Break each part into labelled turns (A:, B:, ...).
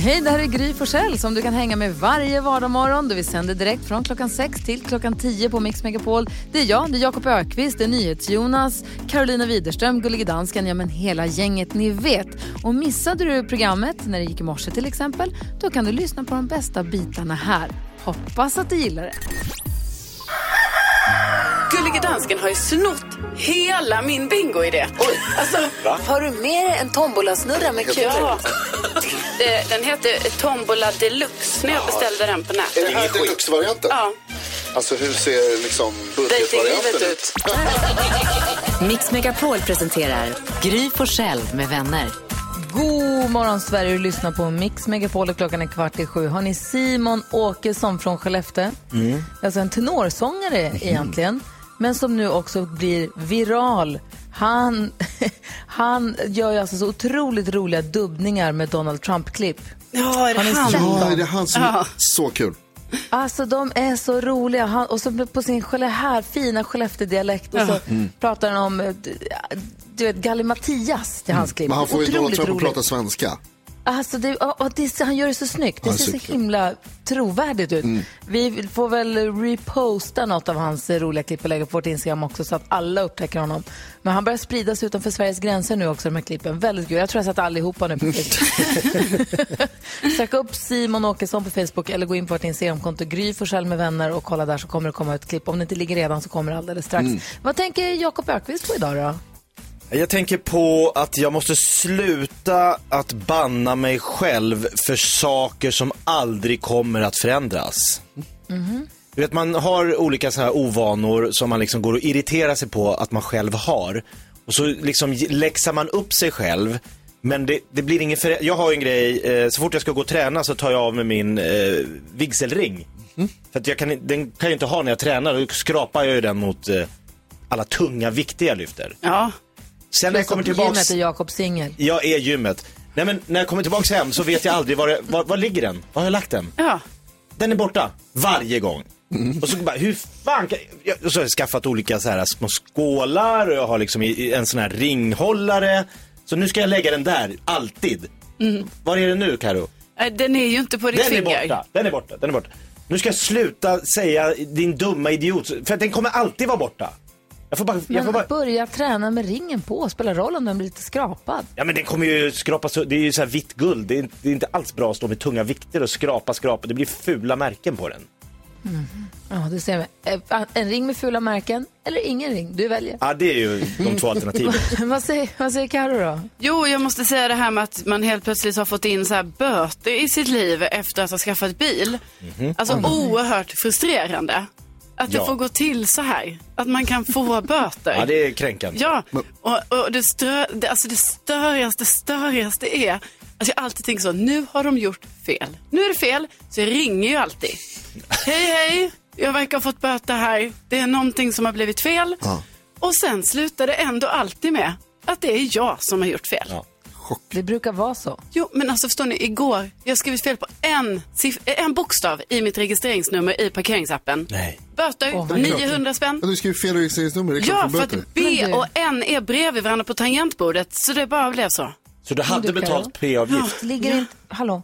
A: Hej, det här är Gry Forssell som du kan hänga med varje vardagsmorgon. Vi sänder direkt från klockan 6 till klockan 10 på Mix Megapol. Det är jag, det är Jakob Ökvist, det är NyhetsJonas, Carolina Widerström, Gullige Dansken, ja men hela gänget ni vet. Och missade du programmet när det gick i morse till exempel, då kan du lyssna på de bästa bitarna här. Hoppas att du gillar det.
B: Gullige dansken har ju snott hela min bingoidé. Alltså,
A: Har du med dig en tombolasnurra med kul?
B: Ja. Det- Den hette Tombola Deluxe när jag beställde den på nätet.
C: Ingen deluxe-varianten?
B: Ja,
C: Alltså hur ser liksom budgetvarianten
B: Datinglivet
C: ut?
D: Mix Megapol presenterar Gry Forssell med vänner.
A: God morgon Sverige, du lyssnar på Mix Megapol och klockan är kvart i sju. Har ni Simon Åkesson från Skellefteå?
E: Mm.
A: Alltså en tenorsångare
C: Mhm.
A: egentligen, men som nu också blir viral. Han, han gör ju alltså så otroligt roliga dubbningar med Donald Trump-klipp.
B: ja är det
A: Har ni
B: han?
A: sett
C: Ja,
A: dem?
C: är det han som... Så kul.
A: Alltså de är så roliga. Han, och så på sin Skelle, här, fina Skellefteå-dialekt. Och så
C: Mm.
A: pratar han om, eh, du vet, Gallimatias till hans klipp.
C: Mm. Men han får ju Donald
A: Otroligt
C: Trump att
A: roligt.
C: prata svenska.
A: Alltså det, och och det, han gör det så snyggt. Det
C: Ja,
A: ser så
C: super.
A: himla trovärdigt ut. Vi får väl reposta något av hans roliga klipp och lägga på vårt Instagram också så att alla upptäcker honom. Men han börjar spridas utanför Sveriges gränser nu också, de här klippen. Väldigt kul. Jag tror jag satt allihopa nu på Facebook. Sök upp Simon Åkesson på Facebook eller gå in på vårt Instagramkonto Gry Forssell med vänner och kolla där så kommer det komma ett klipp. Om det inte ligger redan så kommer det alldeles strax. Vad tänker Jakob Ökvist på idag då?
E: Jag tänker på att jag måste sluta att banna mig själv för saker som aldrig kommer att förändras.
F: Mhm.
E: Du vet, man har olika så här ovanor som man liksom går och irriterar sig på att man själv har. Och så liksom j- läxar man upp sig själv. Men det, det blir ingen förä- Jag har ju en grej, eh, så fort jag ska gå och träna så tar jag av mig min eh, vigselring. För att jag kan, i- den kan jag inte ha när jag tränar, då skrapar jag ju den mot eh, alla tunga, viktiga lyfter.
B: Ja.
E: Sen när jag kommer tillbaks,
A: Gymmet är Jakob singel.
E: jag är gymmet. Nej men när jag kommer tillbaks hem så vet jag aldrig var, det- var, var ligger den? Var har jag lagt den?
B: ja.
E: Den är borta, varje gång. Och så bara, hur fan kan jag... Och så har jag skaffat olika så här små skålar och jag har liksom i- i en sån här ringhållare. Så nu ska jag lägga den där, alltid. Var är den nu Karo?
B: Mm. Nej, Den är ju inte på ditt
E: Den är
B: finger.
E: borta, den är borta, den är borta. Nu ska jag sluta säga din dumma idiot, för att den kommer alltid vara borta. Jag får bara, jag får
A: Men
E: bara...
A: börja träna med ringen på. Spelar roll om den blir lite skrapad.
E: Ja men den kommer ju skrapas, det är ju så här vitt guld. Det är, inte- det är inte alls bra att stå med tunga vikter och skrapa, skrapa. Det blir fula märken på den.
A: Ja, du ser vi. Eh, En ring med fula märken eller ingen ring. Du väljer.
E: Ja det är ju de två alternativen.
A: vad säger, vad säger Karo då?
B: Jo, jag måste säga det här med att man helt plötsligt har fått in så här böter i sitt liv efter att ha skaffat bil. Alltså oerhört frustrerande. Att
E: Mhm.
B: det
E: Mm. Ja.
B: får gå till så här. Att man kan få böter.
E: Ja det är kränkande.
B: Ja, och, och det, strö, det, alltså det störigaste, störigaste är att jag alltid tänker så, nu har de gjort fel. Nu är det fel, så jag ringer ju alltid. Hej, hej, jag verkar ha fått böter här. Det är någonting som har blivit fel. Och sen slutar det ändå alltid med att det är jag som har gjort fel.
E: Ja.
A: Det brukar vara så.
B: Jo, men alltså förstår ni, igår, jag har skrivit fel på en, siff- en bokstav i mitt registreringsnummer i parkeringsappen.
E: Nej.
B: Böter,
A: Åh,
B: 900 spänn.
C: Men du skrev fel registreringsnummer, det är klart
B: Ja,
C: du får
B: för
C: böter.
B: att B
A: Men du-
B: och N är bredvid varandra på tangentbordet, så det bara blev så.
E: Så du hade
A: du, Karo?
E: betalt p-avgift?
A: Ligger, inte, hallå,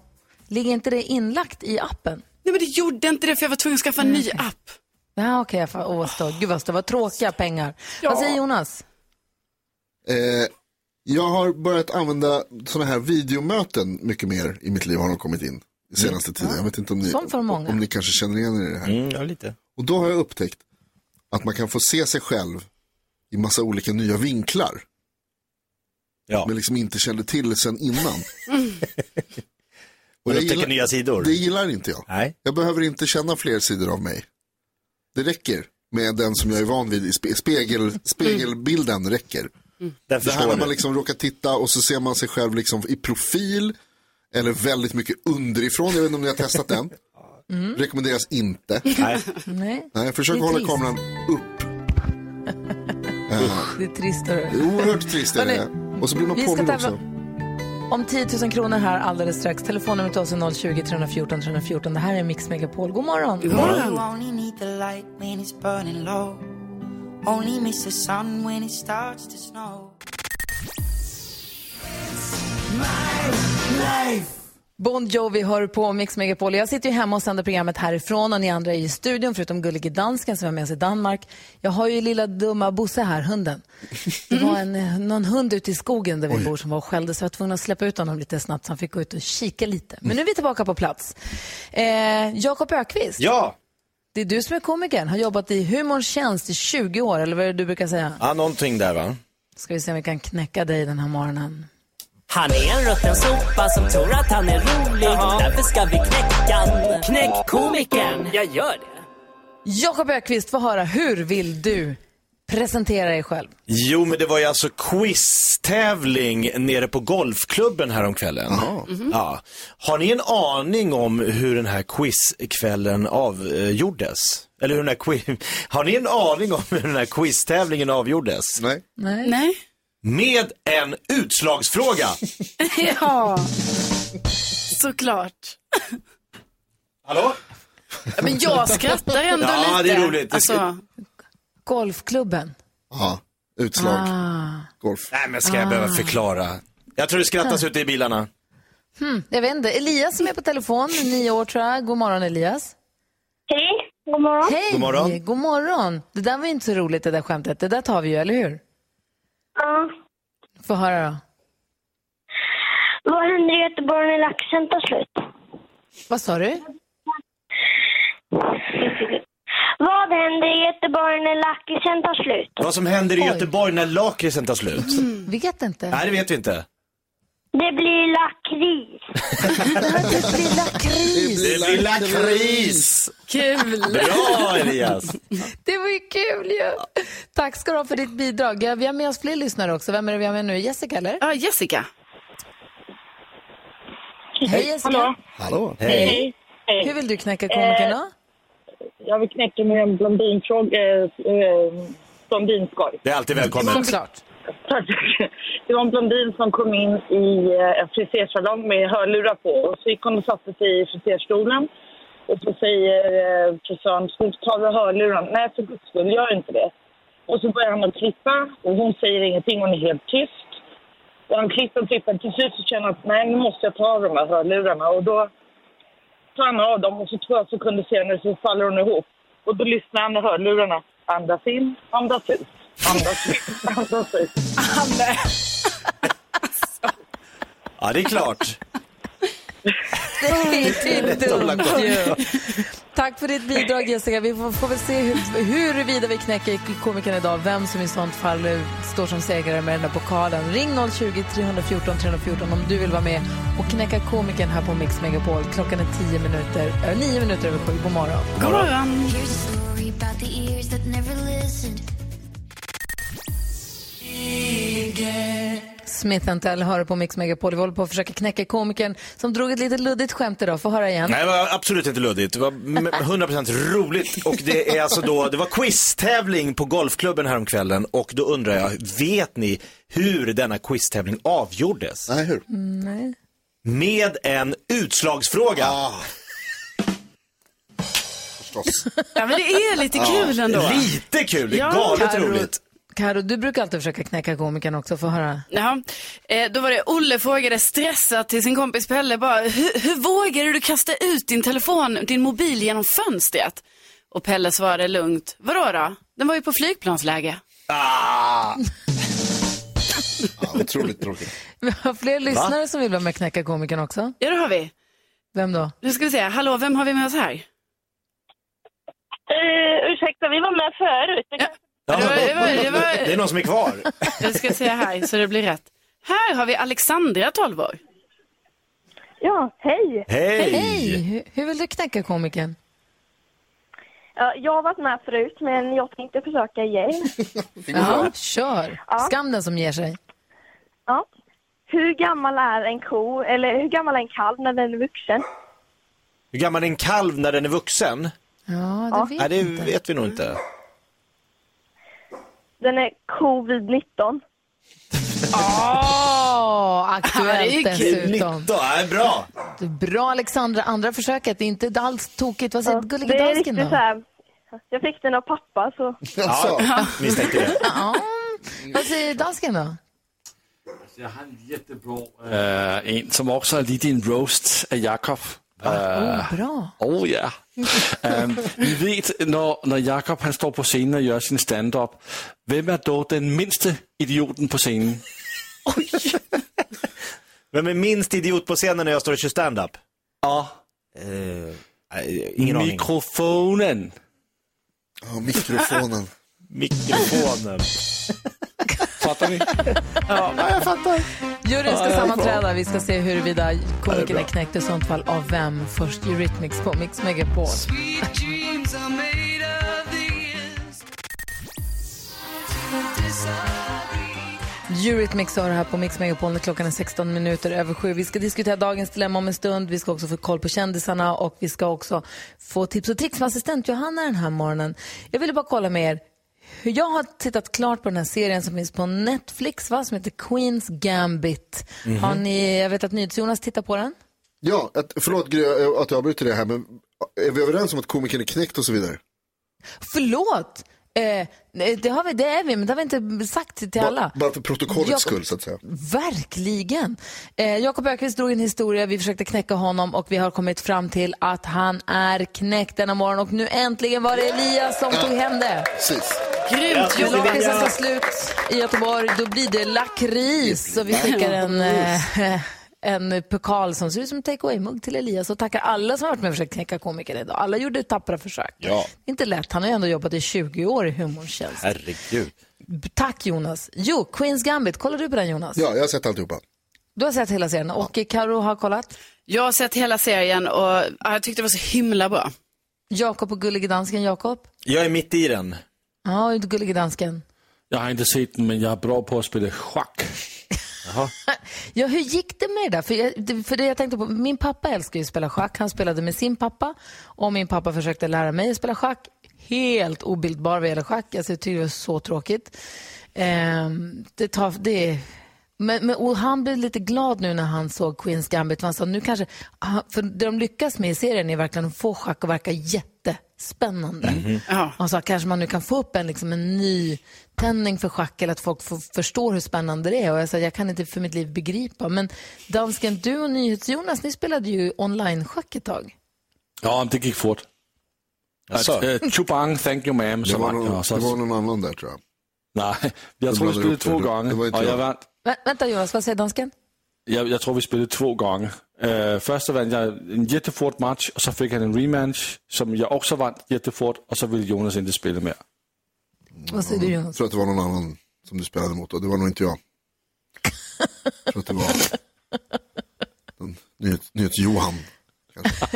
A: ligger inte det inlagt i appen?
B: Nej, men det gjorde inte det, för jag var tvungen att skaffa en ny app.
A: Ja, okej. jag fa- Åh, vad stå- Gud, vad stå- vad tråkiga pengar. Vad säger Jonas?
C: Eh, jag har börjat använda sådana här videomöten mycket mer i mitt liv har de kommit in. i Senaste tiden. Jag vet inte om ni,
A: Som för många.
C: om ni kanske känner igen er i det här.
E: Mm, ja lite.
C: Och då har jag upptäckt att man kan få se sig själv i massa olika nya vinklar.
E: Ja.
C: Men liksom inte kände till sen innan. Och
E: Men
C: jag
E: upptäcker
C: gillar-
E: nya sidor?
C: Det gillar inte jag.
E: Nej.
C: Jag behöver inte känna fler sidor av mig. Det räcker med den som jag är van vid. i spe- Spegel, spegelbilden räcker.
F: Mm.
E: Den
C: Det här
E: förstår
C: när
E: du.
C: man liksom råkar titta och så ser man sig själv liksom i profil eller väldigt mycket underifrån. Jag vet inte om ni har testat den. Rekommenderas inte.
E: Nej.
A: Nej.
C: Nej, försök
A: Mm. Det är
C: hålla
A: trist.
C: kameran upp.
A: Det är trist. hörru.
C: Det är Oerhört trist är det. Och så blir man
A: Vi ska
C: påmind
A: tävla-
C: också.
A: Om 10 000 kronor här alldeles strax. Telefonnumret till oss är 020 314 314. Det här är Mix Megapol. God morgon.
B: God morgon.
G: Only need the light when it's burning low. Only miss the sun when it starts to snow.
A: Bon Jovi hör på Mix Megapol. Jag sitter ju hemma och sänder programmet härifrån och ni andra är i studion förutom gullige dansken som är med oss i Danmark. Jag har ju lilla dumma Bosse här, hunden. Det var en, någon hund ute i skogen där vi bor som var och skällde så jag var tvungen att släppa ut honom lite snabbt så han fick gå ut och kika lite. Men nu är vi tillbaka på plats. Eh, Jakob Ökvist,
E: Ja!
A: det är du som är komikern, har jobbat i humorns tjänst i 20 år eller vad är det du brukar säga?
E: Ja, någonting där va?
A: Ska vi se om vi kan knäcka dig den här morgonen.
F: Han är en rutten sopa som tror att han är rolig. Därför ska vi knäcka han. Knäck komikern. Jag gör det.
A: Jakob Ökvist, få höra, hur vill du presentera dig själv?
E: Jo, men det var ju alltså quiztävling nere på golfklubben häromkvällen. Mm-hmm. Ja. Har ni en aning om hur den här quizkvällen avgjordes? Eller hur den här quiz... Har ni en aning om hur den här quiztävlingen avgjordes?
C: Nej.
B: Nej.
E: Med en utslagsfråga!
B: Ja. Såklart.
E: Hallå?
B: Ja, Men jag skrattar ändå lite.
E: Ja, det är roligt. Det ska-
B: Alltså,
A: Golfklubben.
C: Ja, utslag.
A: Ah.
C: Golf.
E: Nej, men ska jag behöva förklara? Jag tror det skrattas
A: Ah.
E: ute i bilarna.
A: Hmm, Jag vet inte. Elias som är på telefon, nio år tror jag. God morgon Elias.
H: Hej, god morgon.
A: Hej!
E: God morgon.
A: God morgon. Det där var ju inte så roligt det där skämtet. Det där tar vi ju, eller hur?
H: Ja.
A: Få höra då.
H: Vad händer i Göteborg när laxen tar slut?
A: Vad sa du?
H: Vad händer i Göteborg när laxen tar slut?
E: Vad som händer i
A: Oj.
E: Göteborg när lakritsen tar slut?
A: Mm. Vet inte.
E: Nej, det vet vi inte.
H: Det blir lakrits.
A: Det blir lakris.
E: Det blir lakris!
B: kul.
E: Bra Elias!
A: Det var ju kul ju. Tack ska du ha för ditt bidrag. Ja, Vi har med oss fler lyssnare också. Vem är det vi har med nu? Jessica eller?
B: Ja, Jessica.
A: Hej Jessica.
C: Hallå?
E: Hej.
A: Hur vill du knäcka komikern då?
H: Eh, Jag vill knäcka med en blondinfråga. Eh, eh, blondinskoj.
E: Det är alltid välkommen.
A: Såklart.
H: Tack. Det var en blondin som kom in i eh, en frisersalong med hörlurar på. Och så gick hon och satte sig i friserstolen. Och så säger eh, frisören, ska du inte ta av dig hörlurarna? Nej, för guds skull, gör inte det. Och så börjar han att klippa och hon säger ingenting, hon är helt tyst. Och han klipper och klipper. Till slut så känner han att nej, nu måste jag ta av de här hörlurarna. Och då tar han av dem och så två sekunder senare så faller hon ihop. Och då lyssnar han med hörlurarna. Andas in, andas ut, andas in, andas ut.
E: Ja, det är klart.
A: Det är till dumt
E: Jätteobla-
A: ju. Tack för ditt bidrag Jessica. Vi får, får väl se hur, huruvida vi knäcker komikern idag. Vem som i sånt fall eh, står som segrare med den där pokalen. Ring 020-314 314 om du vill vara med och knäcka komikern här på Mix Megapol. Klockan är 10 minuter, äh, 9 minuter över 7. God morgon.
B: God morgon.
G: Here's a story about the ears that never listened.
A: Smith Tell hör på Mix Megapol. Vi håller på att försöka knäcka komikern som drog ett lite luddigt skämt idag. Få höra igen.
E: Nej, det var absolut inte luddigt. Det var m- 100% roligt. Och det är alltså då, det var quiztävling på golfklubben häromkvällen. Och då undrar jag, vet ni hur denna quiztävling avgjordes?
C: Nej, hur?
E: Med en utslagsfråga.
I: Ah.
C: Förstås.
B: Ja, men det är lite kul ändå.
E: Lite kul, det är
B: Ja,
E: galet
B: Karo.
E: roligt.
A: Karo, du brukar alltid försöka knäcka komikern också. Få höra.
B: Ja, eh, då var det Olle frågade stressat till sin kompis Pelle bara, "Hur- hur vågar du kasta ut din telefon, din mobil genom fönstret? Och Pelle svarade lugnt, vadå då? Den var ju på flygplansläge.
E: Ah,
C: Ja, otroligt tråkigt.
A: Vi har fler lyssnare som vill vara med och knäcka komikern också.
B: Ja, det har vi.
A: Vem då?
B: Nu ska vi se, hallå, vem har vi med oss här?
H: Uh, ursäkta, vi var med förut. Det
B: Ja.
E: ja,
H: kanske-
B: Det var- det var- det var-
E: det är någon som är kvar.
B: Nu ska vi se här så det blir rätt. Här har vi Alexandra, 12 år.
H: Ja, hej.
A: Hej!
E: Hej!
A: Hur, hur vill du knäcka komikern?
H: Ja, jag har varit med förut, men jag tänkte försöka igen.
A: Ja, kör! Skam den som ger sig.
H: Ja. Hur gammal är en ko, eller hur gammal är en kalv när den är vuxen?
E: Hur gammal är en kalv när den är vuxen?
A: Ja, det
E: Nej,
A: vet jag
E: det
A: inte.
E: vet vi nog inte.
J: Den är covid-19.
A: Åh, aktuellt dessutom.
E: Då är bra.
A: Bra Alexandra, andra försöket. Det är inte alls tokigt. Vad säger
J: Ja,
A: gullige
J: det är
A: dansken
J: riktigt
A: då?
J: så här. Jag fick den av pappa så...
E: misstänkte det.
A: Ja. Vad säger dansken då?
I: Jeg har en jättebra... Uh, en, som også er lidt en roast af Jakob. Uh,
A: oh, bra.
I: Oh ja. Øhm, vi ved, når, når Jakob han står på scenen og gør sin stand-up, hvem er dog den mindste idioten på scenen?
E: Vem är minst idiot på scenen när jag står och kör stand-up? Ja. ingen aning.
I: Mikrofonen.
C: Ja, mikrofonen.
E: Mikrofonen.
I: Fattar ni?
A: Ja, jag fattar. Juryn
F: Ja,
A: ska
F: jag
A: sammanträda.
F: fattar.
A: Vi ska se huruvida
F: Ja, det är
A: komikern
F: bra.
A: är knäckt i sånt fall av vem. Först Eurythmics på Mix Megapol. Eurythmics har det här på Mix Megapol när klockan är 16 minuter över sju. Vi ska diskutera dagens dilemma om en stund. Vi ska också få koll på kändisarna och vi ska också få tips och tricks med assistent Johanna den här morgonen. Jag ville bara kolla med er. Jag har tittat klart på den här serien som finns på Netflix va? som heter Queens Gambit.
C: Mhm.
A: Har ni, jag vet att NyhetsJonas tittar på den.
C: Ja, att, förlåt Gry, att jag avbryter det här, men är vi överens om att komikern är knäckt och så vidare?
A: Förlåt! Eh, nej, det, har vi, det är vi, men det har vi inte sagt till
C: Ba-
A: alla.
C: Bara för protokollets
A: Jakob-
C: skull så att säga.
A: Verkligen. Eh, Jakob Ökvist drog en historia, vi försökte knäcka honom och vi har kommit fram till att han är knäckt denna morgon och nu äntligen var det Elias som tog hem det.
C: Precis.
A: Grymt! Julakisen tar slut i Göteborg, då blir det lakrits. Så vi skickar en, eh, en pokal som ser ut som en take away-mugg till Elias och tackar alla som har varit med och försökt knäcka komikern idag. Alla gjorde tappra försök.
E: Ja.
A: Inte lätt, han har ju ändå jobbat i 20 år i humorns tjänst.
E: Herregud.
A: Tack Jonas. Jo, Queens Gambit, kollar du på den Jonas?
C: Ja, jag har sett alltihopa.
A: Du har sett hela serien och Karo har kollat.
B: Jag har sett hela serien och ja, jag tyckte det var så himla bra.
A: Jakob och Gullige Dansken, Jakob.
I: Jeg er midt i den.
A: Ja, och Gullige Dansken.
I: Jeg har ikke set den, men jeg er bra på at spille schack.
A: Ja, hur gick det med det där? För, jag, det- för det jag tänkte på, min pappa älskar ju att spela schack. Han spelade med sin pappa och min pappa försökte lära mig att spela schack. Helt obildbar vad gäller schack. Alltså, jag tycker det var så tråkigt. Ehm, det tar, det är, men, men, och han blev lite glad nu när han såg Queens Gambit. För Han sa, nu kanske, ah, för det de lyckas med i serien är verkligen att få schack att verka jättespännande. Han sa kanske man nu kan få upp en, liksom, en ny tändning för schack eller att folk får, förstår hur spännande det är. Och jag sa, jag kan inte för mitt liv begripa. Men dansken, du och NyhetsJonas, ni spelade ju online-schack ett tag.
I: Ja, men det gik fort.
C: så.
I: At, øh, Chubang, thank you ma'am,
C: Det
I: så
C: var,
I: vandt jeg
C: någon,
I: også.
C: det var någon annan där tror jag.
I: Nej, jeg
C: Det
I: tror,
C: var
I: vi spillede
C: det, det
I: to
C: var-
I: gange,
C: det var ikke
I: og
C: jeg.
I: jeg vandt
A: Vä vänta Jonas, vad säger dansken?
I: Jeg, jeg tror, vi spillede to gange. Øh, først så vandt jeg en jättefort match, og så fik han en rematch, som jeg også vandt jättefort, og så ville Jonas ikke spille mere.
A: Vad säger du Jonas?
C: Jag tror att det var någon annan som du spelade mot och det var nog inte jag. Jag tror att det var Den- nyhets, nyhets Johan. kanske.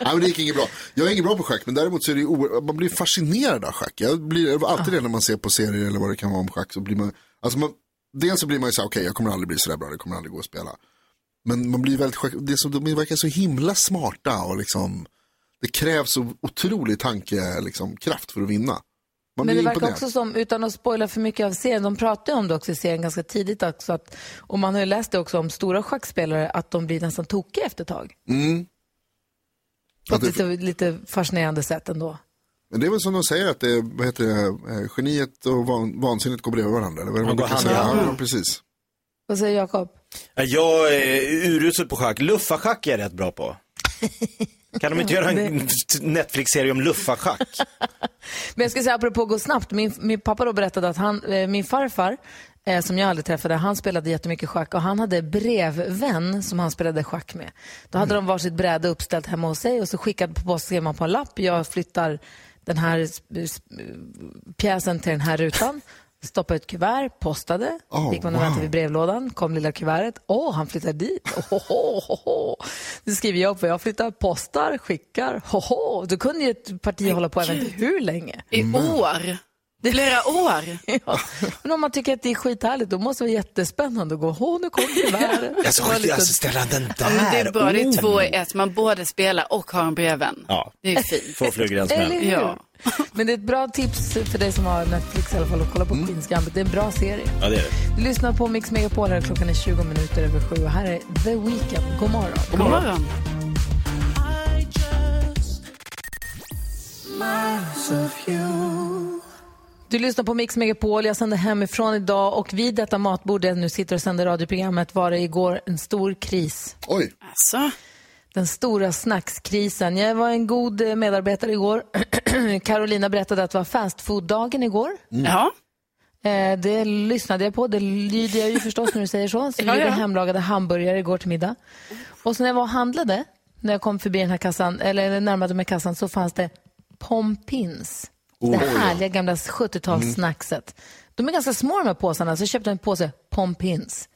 C: Nej men det gick inget bra. Jag är inget bra på schack men däremot så är det ju oer- man blir fascinerad av schack. Jag blir alltid det när man ser på serier eller vad det kan vara om schack så blir man, alltså man, dels så blir man ju såhär okej jag kommer aldrig bli sådär bra, det kommer aldrig gå att spela. Men man blir väldigt schack, det är som, de verkar så himla smarta och liksom, det krävs så otrolig tanke, liksom, kraft för att vinna. Man
A: Men det
C: blir
A: verkar
C: imponerad.
A: också som, utan att spoila för mycket av serien, de pratar ju om det också i serien ganska tidigt också, att, och man har ju läst det också om stora schackspelare, att de blir nästan tokiga efter ett tag.
C: Mm.
A: På ett lite, lite fascinerande sätt ändå.
C: Men det är väl som de säger att det, är- vad heter det, eh, geniet och van, vansinnet går bredvid varandra. Eller vad är det
E: De
C: man
E: går
C: brukar
E: hand i
C: säga?
E: hand.
C: Ja, precis.
A: Vad säger Jakob?
E: Jag är urusel på schack. Luffarschack är jag rätt bra på. Kan de inte göra en Netflix-serie om luffarschack?
A: Men jag ska säga apropå gå snabbt, min, min pappa då berättade att han, eh, min farfar, eh, som jag aldrig träffade, han spelade jättemycket schack och han hade brevvän som han spelade schack med. Då
F: Mm.
A: hade de varsitt bräde uppställt hemma hos sig och så skickade på posten skrev man på en lapp, jag flyttar den här sp- sp- pjäsen till den här rutan. Stoppade ett kuvert, postade,
F: Oh,
A: gick man och
F: wow.
A: väntade vid brevlådan, kom lilla kuvertet. Åh, han flyttar dit. Ohohoho. Nu skriver jag på, jag flyttar, postar, skickar. Hoho. Då kunde ju ett parti hålla på, jag vet inte hur länge.
B: I år?
A: Det
B: flera år?
A: ja. Men om man tycker att det är skithärligt, då måste det vara jättespännande att gå, åh nu kom kuvertet.
E: Jag ska
A: Det var
E: skicka
A: lite-
E: alltså ställa den
B: Ja, men
E: där.
B: det är bra, det är
E: Oh.
B: två i ett. Man både spelar och har en brevvän.
E: Ja,
B: Det är fint.
E: Två flugor i en smäll.
B: Ja.
A: Men det är ett bra tips för dig som har Netflix i alla fall att kolla på Queen's Gambit. Det är en bra serie.
E: Ja, det är det.
A: Du lyssnar på Mix Megapol här klockan är 20 minuter över sju och här är The Weeknd. God morgon.
B: God morgon.
A: Du lyssnar på Mix Megapol, jag sänder hemifrån idag och vid detta matbord där jag nu sitter och sänder radioprogrammet var det igår en stor kris.
C: Oj.
B: Alltså.
A: Den stora snackskrisen. Jag var en god eh, medarbetare igår. Carolina berättade att det var fastfood-dagen igår.
B: Ja.
A: Eh, Det lyssnade jag på, det lyder jag ju förstås när du säger så. Så vi
B: Ja,
A: gjorde
B: ja.
A: hemlagade hamburgare igår till middag. Och så när jag var och handlade, när jag kom förbi den här kassan, eller närmade mig kassan, så fanns det pompins.
K: Oh,
A: det
K: ja.
A: härliga gamla 70-talssnackset. De är ganska små de här påsarna, så jag köpte en påse pompins.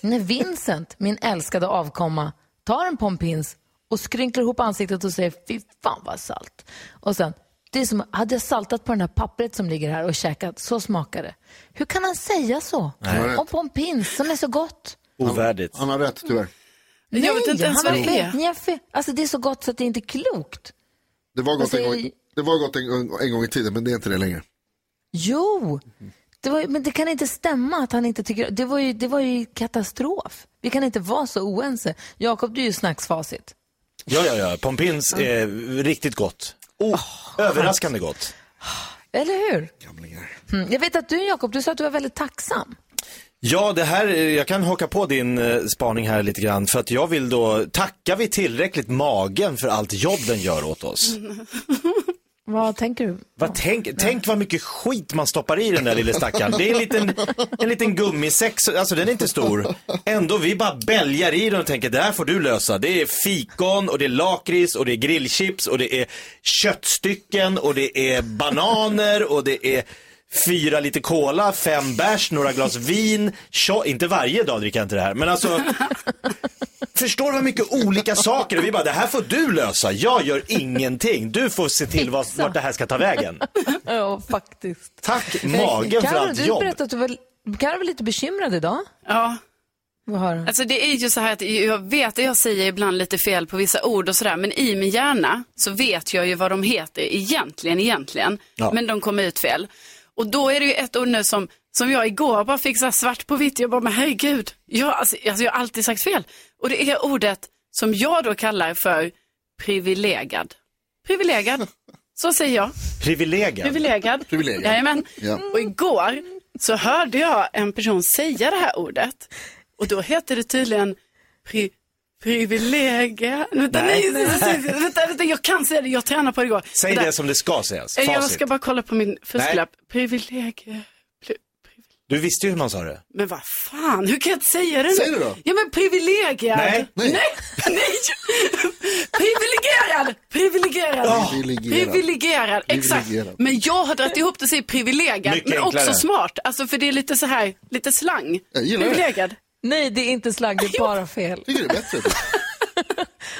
A: När Vincent, min älskade avkomma, tar en pompins och skrynklar ihop ansiktet och säger fy fan vad salt. Och sen, det är som, hade jag saltat på det här pappret som ligger här och käkat, så smakar det. Hur kan han säga så?
C: Nej.
A: Om pompins som är så gott.
E: Ovärdigt.
C: Han, han har rätt tyvärr.
A: Nej,
B: vet inte ens
A: han
B: vad
A: har
B: det är.
A: fel. Ni har fel. Alltså det är så gott så att det är inte klokt.
C: Det var gott,
A: Vad
C: en
A: säger-
C: gång, det var gott en, gång- en gång i tiden men det är inte det längre.
A: Alltså, Jo, det var, ju- men det kan inte stämma att han inte tycker... Det var, ju, det var ju katastrof. Vi kan inte vara så oense. Jakob, du är ju snacksfacit.
E: Ja, ja, ja. Pompins är riktigt gott. Oh, överraskande gott.
A: Eller hur? Mm. Jag vet att du, Jakob, du sa att du var väldigt tacksam.
E: Ja, det här, eh, jag kan haka på din eh, spaning här lite grann. För att jag vill då, tackar vi tillräckligt magen för allt jobb den gör åt oss?
B: Mm.
A: Vad tänker du?
E: Vad tänk, tänk vad mycket skit man stoppar i den där lille stackaren. Det är en liten, en liten gummisex, alltså den är inte stor. Ändå, vi bara bälgar i den och tänker, det här får du lösa. Det är fikon och det är lakrits och det är grillchips och det är köttstycken och det är bananer och det är fyra liter cola, fem bärs, några glas vin. Tjo, inte varje dag dricker jag inte det här, men alltså. Förstår vad mycket olika saker och vi bara, det här får du lösa. Jag gör ingenting. Du får se till vart, vart det här ska ta vägen.
A: ja, faktiskt.
E: Tack magen för
A: Karo,
E: allt
A: du
E: jobb.
A: berättade att du var, Karo var lite bekymrad idag.
B: Ja.
A: Vad har
E: Mm.
A: du?
B: Alltså det är ju så här att jag vet att jag säger ibland lite fel på vissa ord och sådär, men i min hjärna så vet jag ju vad de heter egentligen, egentligen,
L: Ja.
B: men de kommer ut fel. Och då är det ju ett ord nu som, som jag igår bara fick så här svart på vitt, jag bara, men herregud, jag, alltså, alltså, jag har alltid sagt fel. Och det är ordet som jag då kallar för privilegad. Privilegad, så säger jag.
E: Privilegad.
B: Privilegad.
E: Privilegad.
B: Jajamän.
E: Ja.
B: Och igår så hörde jag en person säga det här ordet och då hette det tydligen pri privilegad. Vänta, nej, nej, nej, nej, vänta, vänta, jag kan säga det, jag tränade på det igår.
E: Säg
B: Vänta.
E: det som det ska sägas.
B: Eh, Jag
E: Facit.
B: ska bara kolla på min fusklapp. Privilegad.
E: Du visste ju hur man sa det.
B: Men vad fan, hur kan jag inte säga det nu?
E: Säg det då.
B: Ja men privilegierad.
E: Nej.
B: Nej. Nej. privilegierad. Privilegierad.
E: Ja.
B: privilegierad. Exakt.
E: Privilegierad.
B: Men jag har dragit ihop det till privilegierad.
E: Mycket
B: Men också
E: enklare.
B: smart. Alltså för det är lite så här, lite slang.
C: Jag gillar det.
B: privilegierad.
A: Nej, det är inte slang, det är bara fel.
C: Tycker det är bättre.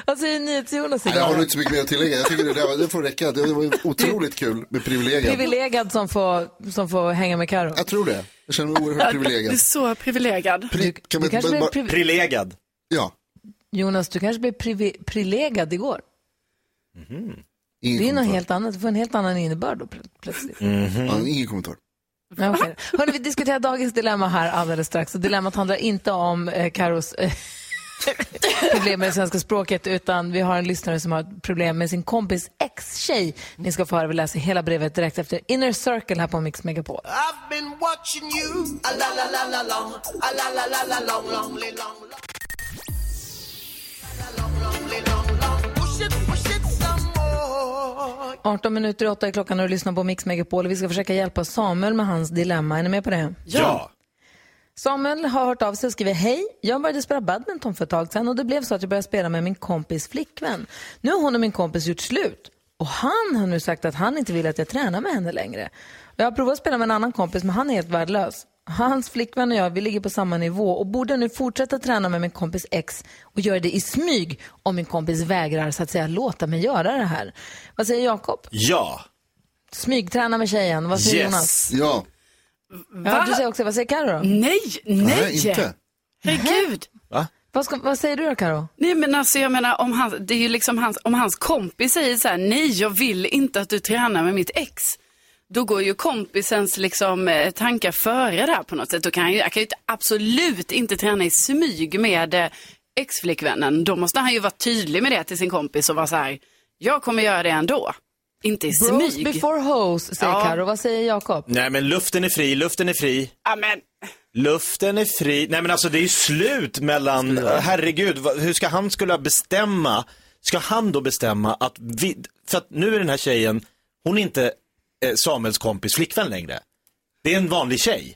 A: Vad säger NyhetsJonas
C: Nej, jag har nog
A: idag?
C: inte så mycket mer att tillägga. Jag tycker det, där, det får räcka. Det, det var ju otroligt kul med privilegier.
A: Privilegad som får, som får hänga med Karo.
C: Jag tror det. Jag känner mig
B: Ja,
C: oerhört
B: Du är
C: privilegierad.
B: så privilegierad.
C: Pri, kan
A: du kanske blir privi-
E: Privilegad.
C: Ja.
A: Jonas, du kanske blev privi- privilegad igår. det är något helt annat, du får en helt annan innebörd då plö- plötsligt.
C: Ja, ingen kommentar.
A: Ja, okej. Hörrni, vi diskuterar dagens dilemma här alldeles strax. Och dilemmat handlar inte om eh, Karos eh, problem med det svenska språket utan vi har en lyssnare som har ett problem med sin kompis ex-tjej. Ni ska få höra, vi läser hela brevet direkt efter Inner Circle här på Mix Megapol.
K: I've been watching you. A la la la la long. A la la la la long, long, long, long. Long, long, long, long. Push it, push it some more.
A: 18 minuter i åtta är klockan och du lyssnar på Mix Megapol. Vi ska försöka hjälpa Samuel med hans dilemma. Är ni med på det?
E: Ja.
A: Samuel har hört av sig och skriver hej. Jag började spela badminton för ett tag sedan och det blev så att jag började spela med min kompis flickvän. Nu har hon och min kompis gjort slut och han har nu sagt att han inte vill att jag tränar med henne längre. Jag har provat att spela med en annan kompis men han är helt värdelös. Hans flickvän och jag, vi ligger på samma nivå och borde jag nu fortsätta träna med min kompis ex och göra det i smyg om min kompis vägrar så att säga låta mig göra det här. Vad säger Jakob?
E: Ja.
A: Smygträna med tjejen, vad säger Jonas?
C: Ja.
A: Ja, du säger också, vad säger Carro då?
B: Nej, nej.
A: Nej, inte.
B: Herregud.
E: Va?
A: Vad, ska, vad säger du då, Karo?
B: Nej men alltså jag menar om hans, det är ju liksom hans, om hans kompis säger så här, nej jag vill inte att du tränar med mitt ex. Då går ju kompisens liksom, eh, tankar före där på något sätt. Då kan han, ju, han kan ju inte- absolut inte träna i smyg med eh, ex-flickvännen. Då måste han ju vara tydlig med det till sin kompis och vara så här, jag kommer göra det ändå. Inte i
A: Bros
B: smyg.
A: before hoes, säger
B: Ja.
A: Karo. Vad säger Jakob?
E: Nej men luften är fri, luften är fri.
B: Amen.
E: Luften är fri. Nej men alltså det är ju slut mellan, herregud, vad- hur ska han skulle bestämma, ska han då bestämma att vi, för att nu är den här tjejen, hon är inte eh, Samuels kompis flickvän längre. Det är en vanlig tjej.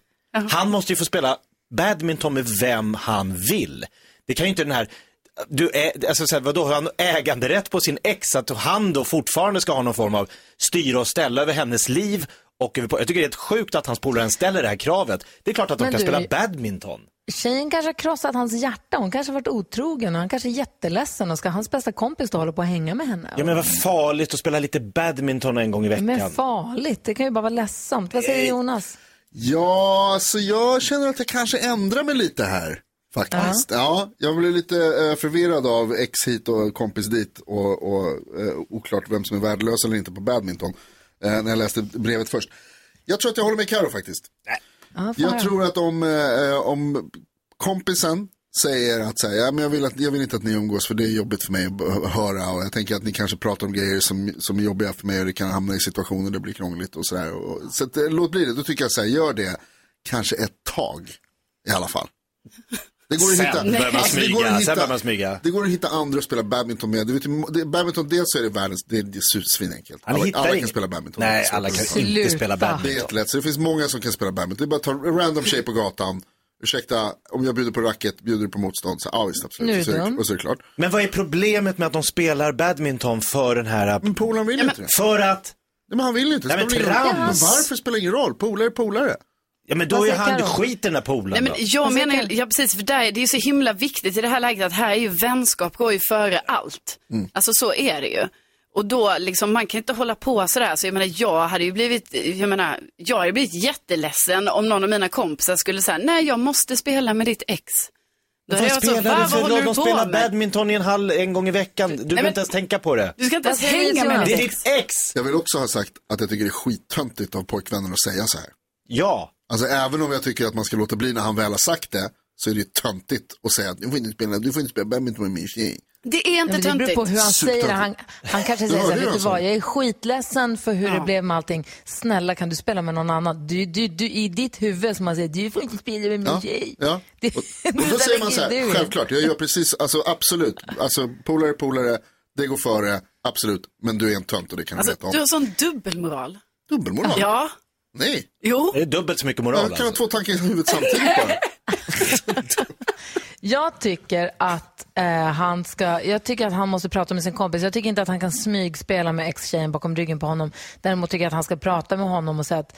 E: Han måste ju få spela badminton med vem han vill. Det kan ju inte den här, du är, alltså så här, vadå, har han äganderätt på sin ex att han då fortfarande ska ha någon form av styra och ställa över hennes liv och över på, jag tycker det är helt sjukt att hans polare ens ställer det här kravet. Det är klart att de
A: Men
E: kan
A: du-
E: spela badminton.
A: Tjejen kanske har krossat hans hjärta. Hon kanske har varit otrogen och han kanske är jätteledsen och ska hans bästa kompis då hålla på och hänga med henne?
E: Ja men vad farligt att spela lite badminton en gång i veckan.
A: Men farligt, det kan ju bara vara ledsamt. Vad säger Jonas?
C: Ja, så jag känner att jag kanske ändrar mig lite här. Faktiskt. Ja, jag blev lite eh, förvirrad av ex hit och kompis dit och, och eh, oklart vem som är värdelös eller inte på badminton. Eh, när jag läste brevet först. Jag tror att jag håller med Karo faktiskt.
A: Ja, får höra.
C: Jag tror att om, eh, om kompisen säger att så här, ja, men jag, vill att, jag vill inte att ni umgås för det är jobbigt för mig att b- höra och jag tänker att ni kanske pratar om grejer som, som är jobbiga för mig och det kan hamna i situationer där det blir krångligt och så där. Och, så att, eh, låt bli det, då tycker jag så här, gör det kanske ett tag i alla fall. Det går att
E: Sen
C: hitta,
E: börjar man
C: alltså, det går att
E: smyga, sen
C: hitta-
E: börjar man smyga.
C: Det går att hitta andra att spela badminton med. Du vet, ju, det, badminton, dels så är det världens, det är, det är svinenkelt.
E: Han
C: Alla,
E: hittar
C: alla kan
E: inget.
C: spela badminton.
E: Nej,
C: Det är svårt.
E: alla kan Sluta. inte spela badminton.
C: Det är jättelätt, så det finns många som kan spela badminton. Det är bara att ta en random tjej på gatan. Ursäkta, om jag bjuder på racket, bjuder du på motstånd? Så, ja, visst, absolut.
E: Nu är
C: Och så
E: det
C: det,
E: dum.
C: och så är det klart.
E: Men vad är problemet med att de spelar badminton för den här... Men
C: polaren vill inte det.
E: För att...
C: Nej, men han vill inte.
E: Nej, men
C: spelar ingen roll.
E: trams.
C: men varför spelar det ingen roll? Polare är polare.
E: Ja, men då
C: Vad
E: är
C: säger
E: han
C: Karo?
E: skit i den här polaren
B: Nej, men
E: då.
B: jag
A: Alltså,
B: menar, ju- ja, precis, för där, är- det är ju så himla viktigt i det här läget att här är ju vänskap går ju före allt.
E: Mm.
B: Alltså så är det ju. Och då liksom, man kan inte hålla på sådär. Så jag menar, jag hade ju blivit, jag menar, jag hade blivit jätteledsen om någon av mina kompisar skulle säga, nej jag måste spela med ditt ex. Då hade
E: Vad
B: jag varit så,
E: spelar
B: "Va,
E: du
B: vad
E: för
B: håller
E: roll?
B: du
E: De
B: på
E: spelar
B: med?
E: badminton i en hall en gång i veckan. Du behöver
B: men-
E: inte ens tänka på det.
B: Du ska inte ens hänga med
E: Det är
B: mitt ex.
E: ditt ex!
C: Jag vill också ha sagt att jag tycker det är skittöntigt av pojkvännen att säga så här.
E: Ja.
C: Alltså även om jag tycker att man ska låta bli när han väl har sagt det, så är det töntigt att säga att du får inte spela, du får inte spela badminton med min tjej.
B: Det är
A: inte Det beror på hur han säger det. Han, han kanske
C: Ja,
A: säger så
C: det är
A: här, vet du
C: han som-
A: vad, jag är skitledsen för hur det blev med allting. Snälla kan du spela med någon annan? Du, du, du, I ditt huvud som man säger, du får inte spela med min
C: Ja,
A: tjej.
C: ja.
A: Det-
C: Och då
A: det
C: säger man
A: lägger
C: så
A: du
C: här,
A: in.
C: självklart, jag gör precis, alltså absolut, alltså polare, polare, det går före, absolut, men du är en tönt och det kan du
B: Alltså,
C: veta om.
B: du har sån dubbelmoral.
C: Dubbelmoral?
B: Ja.
C: Nej.
B: Jo.
E: Det är dubbelt så mycket moral
C: Jag kan ha två tankar i huvudet samtidigt bara.
A: Jag tycker att eh, han ska, jag tycker att han måste prata med sin kompis. Jag tycker inte att han kan smygspela med ex-tjejen bakom ryggen på honom. Däremot tycker jag att han ska prata med honom och säga att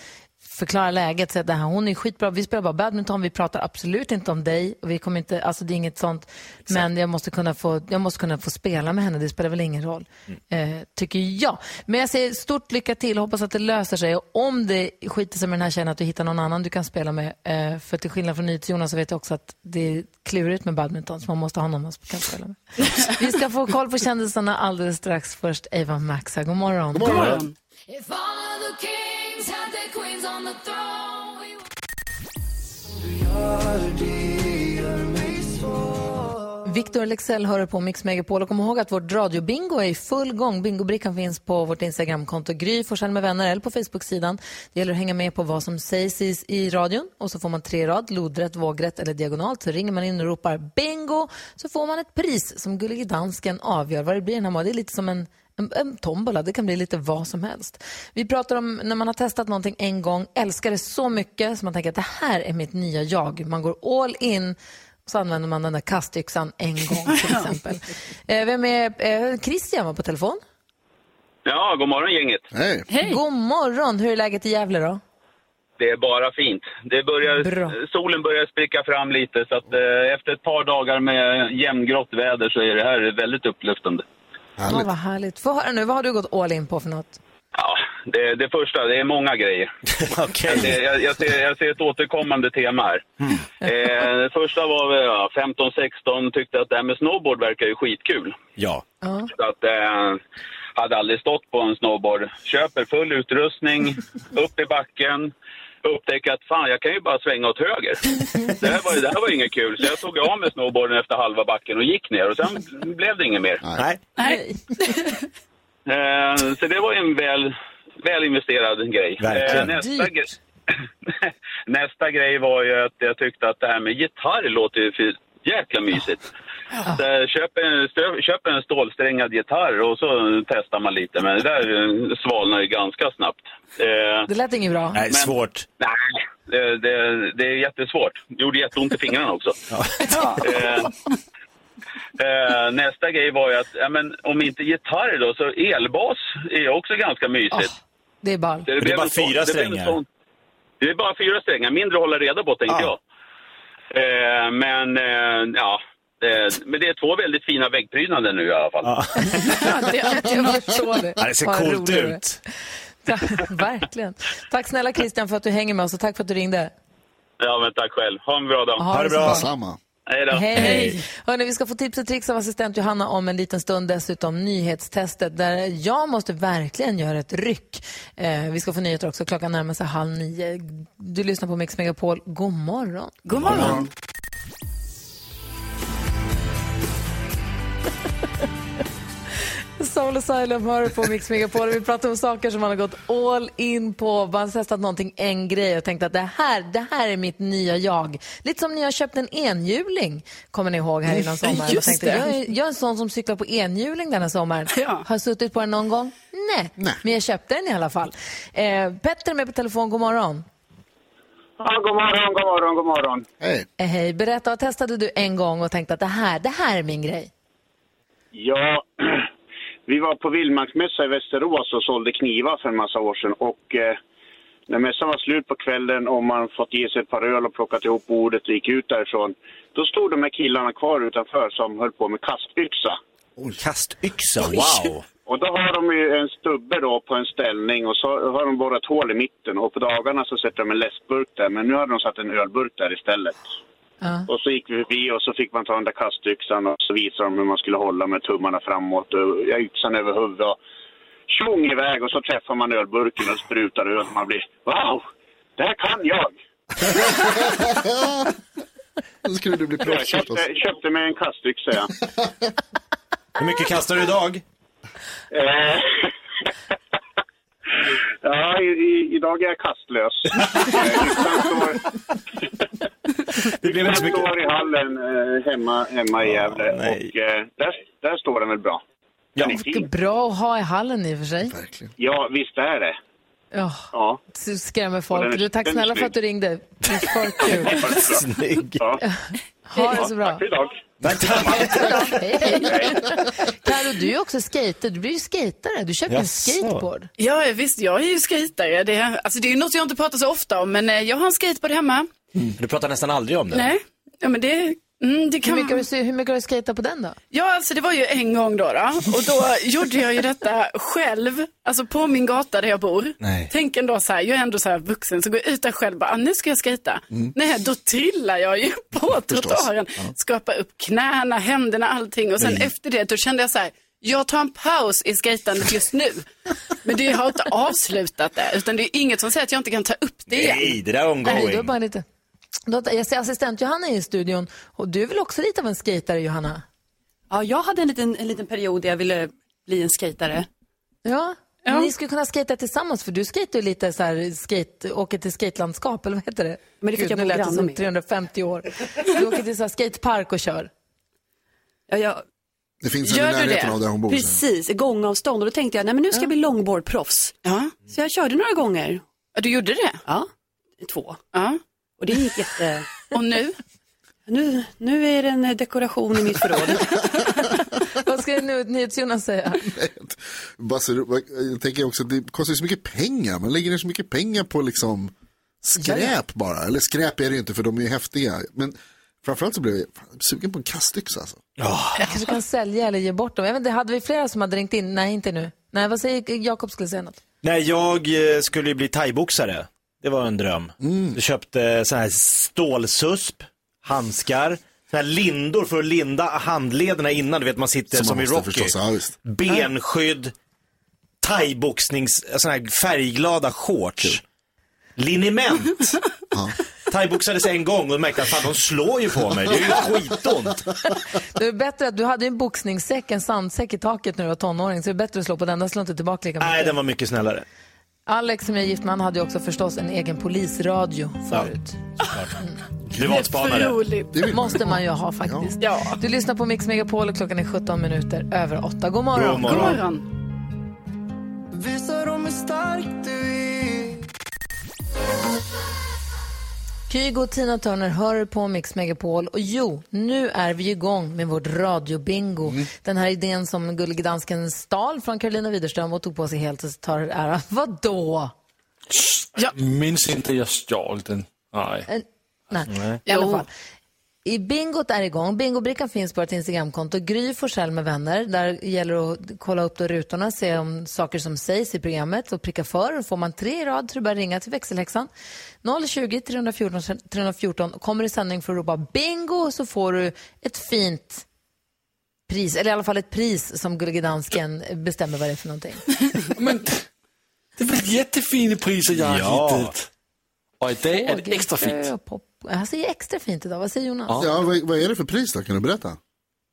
A: förklara läget, säga att det här, hon är skitbra, vi spelar bara badminton, vi pratar absolut inte om dig och vi kommer inte, alltså det är inget sånt. Men jag måste kunna få, jag måste kunna få spela med henne, det spelar väl ingen roll. Eh, tycker jag. Men jag säger stort lycka till, hoppas att det löser sig. Och om det skiter sig med den här tjejen, att du hittar någon annan du kan spela med. Eh, för till skillnad från NyhetsJonas så vet jag också att det är klurigt med badminton, så man måste ha någon man kan spela med. Vi ska få koll på kändisarna alldeles strax. Först Eva Maxa, god morgon.
L: God morgon. God
M: If all of the kings had their queens on the throne we
A: Victor Lexell hör på Mix Megapol och kom ihåg att vårt radiobingo är i full gång. Bingobrickan finns på vårt Instagramkonto Gry Forssell med vänner eller på Facebook-sidan. Det gäller att hänga med på vad som sägs i, i radion och så får man tre rad, lodrätt, vågrätt eller diagonalt. Så ringer man in och ropar bingo så får man ett pris som Gullige Dansken avgör vad det blir den här månaden. Det är lite som en en, en tombola, det kan bli lite vad som helst. Vi pratar om när man har testat någonting en gång, älskar det så mycket så man tänker att det här är mitt nya jag. Man går all in och så använder man den där kastyxan en gång till exempel. eh, vem är eh, Christian var på telefon?
N: Ja, god morgon gänget.
C: Hej.
A: God morgon, hur är läget i Gävle då?
N: Det är bara fint. Det börjar, solen börjar spricka fram lite så att eh, efter ett par dagar med jämngrått väder så är det här väldigt upplyftande.
A: Åh, vad härligt. Få höra nu, vad har du gått all in på för något?
N: Det, det första, det är många grejer. jag, ser, jag, jag, ser, jag ser ett återkommande tema här. Eh, det första var väl, ja, 15-16, tyckte att det här med snowboard verkar ju skitkul.
E: Ja.
N: Så att, eh, hade aldrig stått på en snowboard. Köper full utrustning, upp i backen, upptäcker att fan, jag kan ju bara svänga åt höger. Det här var, ju- det här var ju inget kul, så jag tog av mig snowboarden efter halva backen och gick ner och sen blev det inget mer.
E: Nej.
B: Nej.
N: Eh, så det var ju en väl, väl investerad grej. Eh,
E: Verkligen.
N: nästa, gre- nästa grej var ju att jag tyckte att det här med gitarr låter ju för jäkla mysigt. Så jag köper, en, stö- köper en stålsträngad gitarr och så testar man lite, men det där eh, svalnar ju ganska snabbt. Eh,
A: Det lät inget bra.
N: men- Nej, det, det, det är jättesvårt. Det gjorde jätteont i fingrarna också. Eh, eh, nästa grej var ju att, ja, men, om inte gitarr då, så elbas är också ganska mysigt.
A: Det är ball.
N: blev en sån- det blev en sån- Det är bara fyra strängar, mindre att hålla reda på tänkte jag. Eh, men, eh, ja. Eh, men det är två väldigt fina väggprydnader nu i alla fall.
A: Jag förstår det.
N: Ja, det ser
A: Vad
N: coolt
A: roligt det är.
N: ut.
A: Ja, Verkligen. Tack snälla Christian för att du hänger med oss och tack för att du ringde.
N: Ja, men tack själv. Ha en bra dag.
A: Ha Ha det det så bra. bra.
C: Detsamma.
N: Hej då.
A: Hej. Hej. Hörrni, vi ska få tips och tricks av assistent Johanna om en liten stund. Dessutom nyhetstestet där jag måste verkligen göra ett ryck. Eh, vi ska få nyheter också. Klockan närmar sig halv nio. Du lyssnar på Mix Megapol. God morgon.
B: God morgon.
A: Soul Asylum hör du på Mix Megapol. Vi pratar om saker som man har gått all in på. Man har testat någonting, en grej och tänkt att det här, det här är mitt nya jag. Lite som när jag köpte en enhjuling, kommer ni ihåg här innan sommaren.
B: Just
A: och tänkte,
B: det.
A: jag, är, jag är en sån som cyklar på enhjuling denna sommaren. Har jag suttit på den någon gång? Nej, men jag köpte den i alla fall. Eh, Petter är med på telefon, god morgon.
L: Ja, god morgon, god morgon, god morgon.
C: Hej.
A: Eh, hej, berätta, vad testade du en gång och tänkte att det här, det här är min grej?
L: Ja, vi var på vildmarksmässa i Västerås och sålde knivar för en massa år sedan. Och eh, när mässan var slut på kvällen och man fått ge sig ett par öl och plockat ihop bordet och gick ut därifrån. Då stod de här killarna kvar utanför som höll på med kastyxa.
E: Kastyxa, wow.
L: Och då har de ju en stubbe då på en ställning och så har de borrat hål i mitten och på dagarna så sätter de en läskburk där men nu hade de satt en ölburk där istället. Och så gick vi förbi och så fick man ta den där kastyxan och så visade de hur man skulle hålla med tummarna framåt och ja, yxan över huvudet och tjong iväg och så träffar man ölburken och sprutar öl och man blir wow, det här kan jag!
C: Då skulle du bli
L: Jag
C: proffs förstås.
L: köpte, köpte mig en kastyxa ja.
E: Hur mycket kastar du idag?
L: Eh, ja, i, i, idag är jag kastlös. Eh, Yxan står,
E: det blev
L: yxan står i hallen eh, hemma, hemma i Gävle och eh, där, där står den väl bra.
A: Ja.
L: Den är
A: Det är
L: fin.
A: bra att ha i hallen i och för sig.
L: Ja, visst är det.
A: Ja,
L: Ja.
A: du skrämmer
L: Och
A: folk.
L: den är-
A: Du, tack
L: den är
A: snälla för att du ringde. Det är för kul.
E: Snygg.
L: Ja.
A: Ha det så bra.
L: Tack för idag.
A: Karo, du är också skater. Du blir ju skatare. Du köpte en skateboard.
B: Ja, visst, jag är ju skejtare. Det, är- alltså, det är ju något jag inte pratar så ofta om, men eh, jag har en skateboard hemma.
E: Du pratar nästan aldrig om det.
B: Mm. Nej, ja, men det, mm, det kan...
A: Hur mycket, har du, sy- hur mycket har du skejtat på den då?
B: Ja, alltså det var ju en gång då, då och då gjorde jag ju detta själv, alltså på min gata där jag bor.
E: Nej.
B: Tänk ändå så här, jag är ändå så här vuxen, så går jag ut där själv och bara, ah, nu ska jag skejta.
E: Mm.
B: Nej, då trillar jag ju på trottoaren, skapar upp knäna, händerna, allting och sen
E: Nej.
B: efter det då kände jag så här, jag tar en paus i skejtandet just nu. Men det har inte avslutat det, utan det är inget som säger att jag inte kan ta upp det igen.
E: Nej, det där är
A: Nej, då
E: ongoing.
A: bara lite. Då, jag ser assistent Johanna är i studion och du är väl också lite av en skejtare Johanna?
O: Ja, jag hade en liten, en liten period där jag ville bli en skejtare.
A: Ja. Ni skulle kunna skejta tillsammans för du skejtar ju lite så här, skate, åker till skatelandskap eller vad heter det?
O: Men det fick jag
A: nu
O: bo
A: lät det
O: granne
A: som
O: med.
A: 350 år. Du åker till så här skatepark och kör.
O: Ja, jag,
C: Det finns en i närheten av där hon bor.
O: Precis, gångavstånd. Och då tänkte jag, nej men nu ska jag bli longboardproffs.
B: Ja.
O: Så jag körde några gånger.
B: Ja, du gjorde det?
O: Ja, två.
B: Ja.
O: Och det gick jätte...
B: Och nu?
O: Nu, nu är det en eh, dekoration i mitt förråd.
A: Vad ska nu NyhetsJonas säga?
C: Basse, jag tänker också att det kostar ju så mycket pengar. Man lägger ner så mycket pengar på liksom skräp bara. Eller skräp är det ju inte för de är ju häftiga. Men framförallt så blev jag fan, sugen på en kastyxa alltså.
A: Jag kanske kan sälja eller ge bort dem. Jag vet inte, hade vi flera som hade ringt in? Nej, inte nu. Nej, vad säger Jakob skulle säga något?
E: Nej, jag eh, skulle ju bli thaiboxare. Det var en dröm.
C: Mm.
E: Jag köpte sån här stålsusp, handskar, sån här lindor för att linda handlederna innan. Du vet, man sitter som,
C: Som man
E: i
C: måste
E: Rocky.
C: förstås, ja, visst.
E: Benskydd, thaiboxnings, sån här färgglada shorts. Liniment. Thaiboxades en gång och märkte att fan, de slår ju på mig. Det är ju skitont.
A: Det är bättre att du hade ju en boxningssäck, en sandsäck i taket när du var tonåring, så det är bättre att slå på den, den slår inte tillbaka lika mycket.
E: Nej, den var mycket snällare.
A: Alex som jag är gift med, han hade ju också förstås en egen polisradio förut.
E: Privatspanare.
A: måste man ju ha faktiskt. Du lyssnar på Mix Megapol och klockan är 17 minuter över 8. God morgon.
E: God morgon. God
K: Visa dem hur stark du är
A: Kygo och Tina Turner hör på Mix Megapol och jo, nu är vi igång med vårt radiobingo. Den här idén som gullige dansken stal från Carolina Widerström och tog på sig helt och tar ära. Vadå?
I: Jag minns inte jag stjal den. Nej.
A: En- Eh, Nej,
I: Nej.
A: i alla
I: Jo.
A: fall. I bingot är igång. Bingobrickan finns på vårt Instagramkonto, Gry Forssell med vänner. Där gäller det att kolla upp då rutorna, se om saker som sägs i programmet och pricka för. Får man tre i rad så är det bara att ringa till växelhäxan. 020 314 314. Kommer i sändning för att ropa bingo så får du ett fint pris, eller i alla fall ett pris som Gullige Dansken bestämmer vad det är för någonting.
I: Det är väl jättefina priser jag har
E: Ja.
I: hittat. Och idag är det extra fint.
A: Han säger extra fint idag. Vad säger Jonas?
C: Ja, vad, vad är det för pris då? Kan du berätta?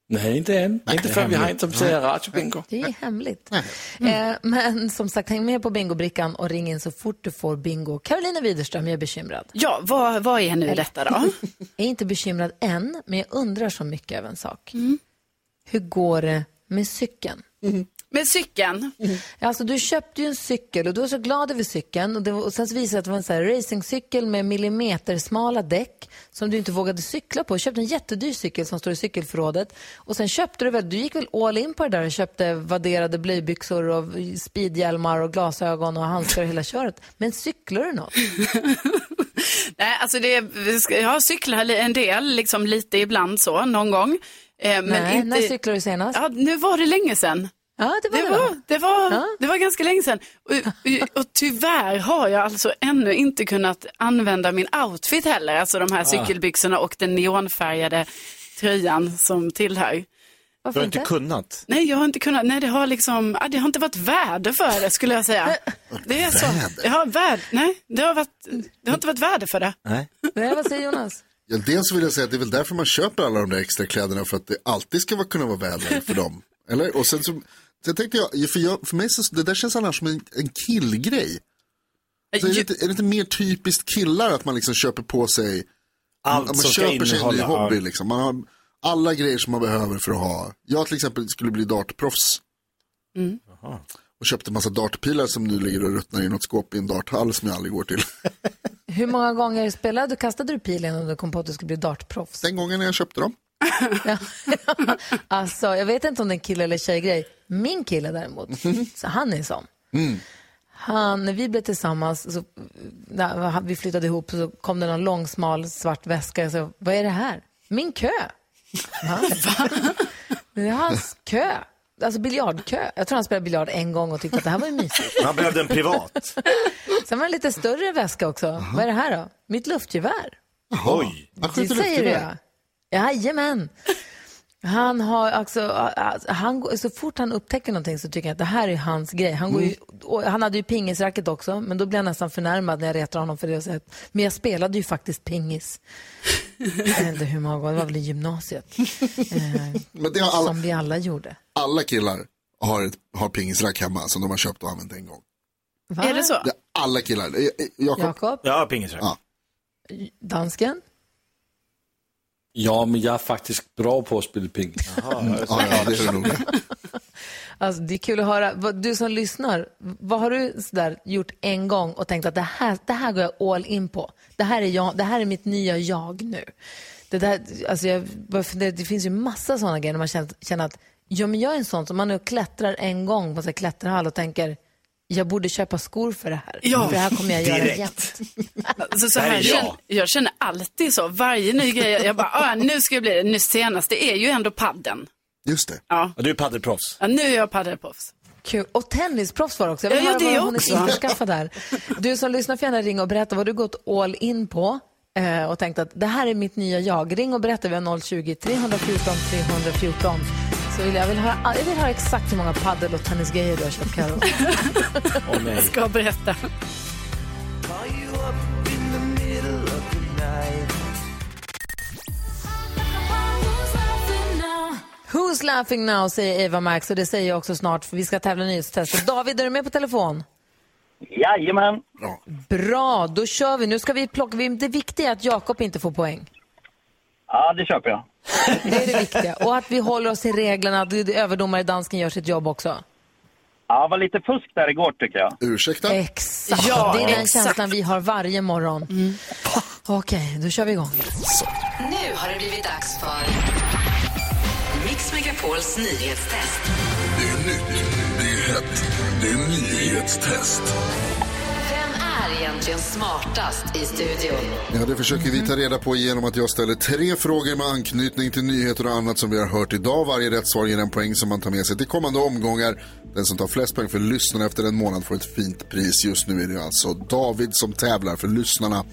I: Nej, inte än. Inte förrän vi har en som säger radiobingo.
A: Det är hemligt. Eh, men som sagt, häng med på bingobrickan och ring in så fort du får bingo. Carolina Widerström, jag är bekymrad.
B: Ja, vad, vad är nu detta då?
A: Jag är inte bekymrad än, men jag undrar så mycket över en sak.
B: Mm.
A: Hur går det med cykeln?
B: Med cykeln?
A: Alltså, du köpte ju en cykel och du var så glad över cykeln. Och, det var, och sen så visade det sig att det var en sån här racingcykel med millimetersmala däck som du inte vågade cykla på. Du köpte en jättedyr cykel som står i cykelförrådet. Och sen köpte du väl, du gick väl all in på det där och köpte vadderade blöjbyxor och speedhjälmar och glasögon och handskar och hela köret. Men cyklar du något?
B: Nej, alltså det, vi ska- jag cyklar li- en del, liksom lite ibland så, någon gång. Eh, Men
A: Nej, när cyklade du senast?
B: Ja, nu var det länge sedan.
A: Ja, det
B: var det. Var, det, var, det var ganska länge sedan. Och, och, och tyvärr har jag alltså ännu inte kunnat använda min outfit heller, alltså de här
E: Ah.
B: cykelbyxorna och den neonfärgade tröjan som tillhör.
E: Du har inte kunnat.
B: Nej, jag har inte kunnat. Nej, det har liksom, ah, det har inte varit värde för det skulle jag säga. Det är så. Ja, värd, nej, det har, varit, det har inte varit värde för det.
E: Nej.
A: Nej, vad säger Jonas?
C: Ja, dels vill jag säga att det är väl därför man köper alla de där extra kläderna för att det alltid ska vara- kunna vara väder för dem. Eller? Och sen så, sen tänkte jag, för, jag, för mig så, det där känns annars som en, en killgrej.
E: Äh,
C: Så är, det inte, är det inte mer typiskt killar att man liksom köper på sig,
E: Allt
C: man, man
E: som ska
C: köper sig en ny
E: innehålla,
C: hobby
E: ja.
C: liksom. Man har alla grejer som man behöver för att ha. Jag till exempel skulle bli dartproffs
B: Mm.
C: och köpte en massa dartpilar som nu ligger och ruttnar i något skåp i en darthall som jag aldrig går till.
A: Hur många gånger spelade du, kastade du pilen och du kom på att du skulle bli dartproffs?
C: Den gången när jag köpte dem.
A: Alltså, jag vet inte om det är en kille eller tjejgrej. Min kille däremot, så han är sån. Han, när vi blev tillsammans, så, när vi flyttade ihop, så kom det någon lång, smal, svart väska. Jag sa, vad är det här? Min kö. Va? Det är hans kö. Alltså biljardkö. Jag tror han spelade biljard en gång och tyckte att det här var ju mysigt.
E: Man behövde en privat.
A: Sen var det en lite större väska också. Vad är det här då? Mitt luftgevär.
E: Oj.
A: Det säger jag. Jajamän. Han har alltså, alltså, han, går- så fort han upptäcker någonting så tycker jag att det här är hans grej. Han, går ju,
C: Mm.
A: och han hade ju pingisracket också, men då blir jag nästan förnärmad när jag retar honom för det. Och säger, att, men jag spelade ju faktiskt pingis. jag vet inte hur många gånger, det var väl i gymnasiet. Eh,
C: Men det har alla-
A: Som vi alla gjorde.
C: Alla killar har, ett, har pingisrack hemma som de har köpt och använt en gång.
A: Va?
B: Är det så?
C: Det är alla killar. Eh, eh, Jakob?
A: Jakob?
E: Ja, pingisrack.
C: Ja.
A: Dansken?
I: Ja, men jag är faktiskt bra på att spela ping.
C: Ja, ja, det är det nog.
A: Alltså, det är kul att höra. Vad- Du som lyssnar, vad har du sådär gjort en gång och tänkt att det här, det här går jag all in på? Det här är, jag, det här är mitt nya jag nu. Det, där, alltså jag, bara funderar, det finns ju massa sådana grejer när man känner, känner att ja, men jag är en sån som man nu klättrar en gång på en klätterhall och tänker jag borde köpa skor för det här.
B: Ja,
A: för det här kommer jag göra
B: direkt.
A: jämt.
B: Alltså, så
A: Där är
B: här,
A: jag.
B: jag. jag känner alltid så, varje ny grej, jag bara, ah, nu ska jag bli det, nu senast, det är ju ändå padden.
C: Just det.
B: Ja.
E: Du är paddelproffs.
B: Ja, nu är jag paddelproffs.
A: Kul. Och tennisproffs var det också. Jag vill
B: Ja, ja,
A: höra
B: det
A: vad hon
B: också.
A: är införskaffad där. Du som lyssnar får gärna ringa och berätta vad du gått all in på eh, och tänkt att det här är mitt nya jag. Ring och berätta. Vi har 020-314 314. Så vill jag, jag, vill höra, jag vill höra exakt hur många paddel och tennisgrejer du har köpt, Karo.
E: Åh nej.
B: Jag ska berätta.
A: Who's laughing now, säger Eva Max och det säger jag också snart för vi ska tävla nyhetstestet. David, är du med på telefon?
P: Jajamän.
A: Bra, då kör vi. Nu ska vi plocka, vi- det viktiga är att Jakob inte får poäng.
P: Ja, det köper jag.
A: Det är det viktiga. Och att vi håller oss till reglerna, att överdomare dansken gör sitt jobb också.
P: Ja, var lite fusk där igår tycker jag.
C: Ursäkta?
A: Exakt. det är den känslan vi har varje morgon.
B: Mm.
A: Okej, då kör vi igång.
D: Nu har det blivit dags för Mix Megapols nyhetstest.
K: Det är nytt, det är hett, det är nyhetstest.
D: Vem är egentligen smartast i studion?
C: Ja, det försöker vi ta reda på genom att jag ställer tre frågor med anknytning till nyheter och annat som vi har hört idag. Varje rätt svar ger en poäng som man tar med sig till kommande omgångar. Den som tar flest poäng för lyssnarna efter en månad får ett fint pris. Just nu är det alltså David som tävlar för lyssnarna